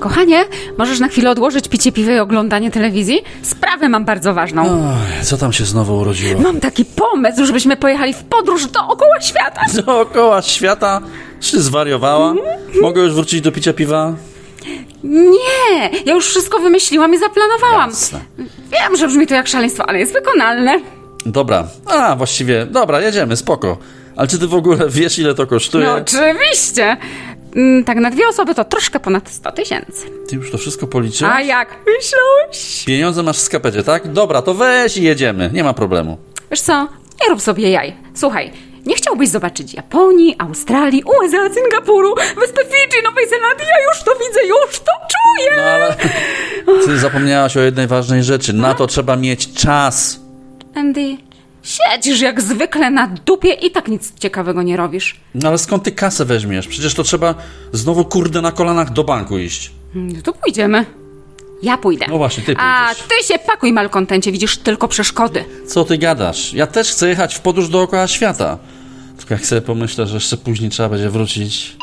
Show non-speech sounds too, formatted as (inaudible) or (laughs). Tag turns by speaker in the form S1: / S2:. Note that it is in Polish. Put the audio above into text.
S1: Kochanie, możesz na chwilę odłożyć picie piwa i oglądanie telewizji? Sprawę mam bardzo ważną.
S2: Oj, co tam się znowu urodziło?
S1: Mam taki pomysł, żebyśmy pojechali w podróż dookoła świata.
S2: (laughs) Dookoła świata? Czy zwariowała? Mogę już wrócić do picia piwa?
S1: Nie, ja już wszystko wymyśliłam i zaplanowałam.
S2: Jasne.
S1: Wiem, że brzmi to jak szaleństwo, ale jest wykonalne.
S2: Dobra. A, właściwie, dobra, jedziemy, spoko. Ale czy ty w ogóle wiesz, ile to kosztuje?
S1: No oczywiście. Mm, Tak, na dwie osoby to troszkę ponad 100 tysięcy.
S2: Ty już to wszystko policzyłeś?
S1: A jak myślałeś?
S2: Pieniądze masz w skapecie, tak? Dobra, to weź i jedziemy, nie ma problemu.
S1: Wiesz co, nie rób sobie jaj. Słuchaj, nie chciałbyś zobaczyć Japonii, Australii, USA, Singapuru, Wyspy Fidżi, Nowej Zelandii? Ja już to widzę, już to czuję!
S2: No ale ty zapomniałaś o jednej ważnej rzeczy. Na to trzeba mieć czas.
S1: (laughs) Andy, siedzisz jak zwykle na dupie i tak nic ciekawego nie robisz.
S2: No ale skąd ty kasę weźmiesz? Przecież to trzeba znowu kurde na kolanach do banku iść.
S1: No to pójdziemy. Ja pójdę.
S2: No właśnie, ty
S1: A
S2: pójdziesz.
S1: ty się pakuj, malkontencie, widzisz tylko przeszkody.
S2: Co ty gadasz? Ja też chcę jechać w podróż dookoła świata. Tylko jak sobie pomyślę, że jeszcze później trzeba będzie wrócić.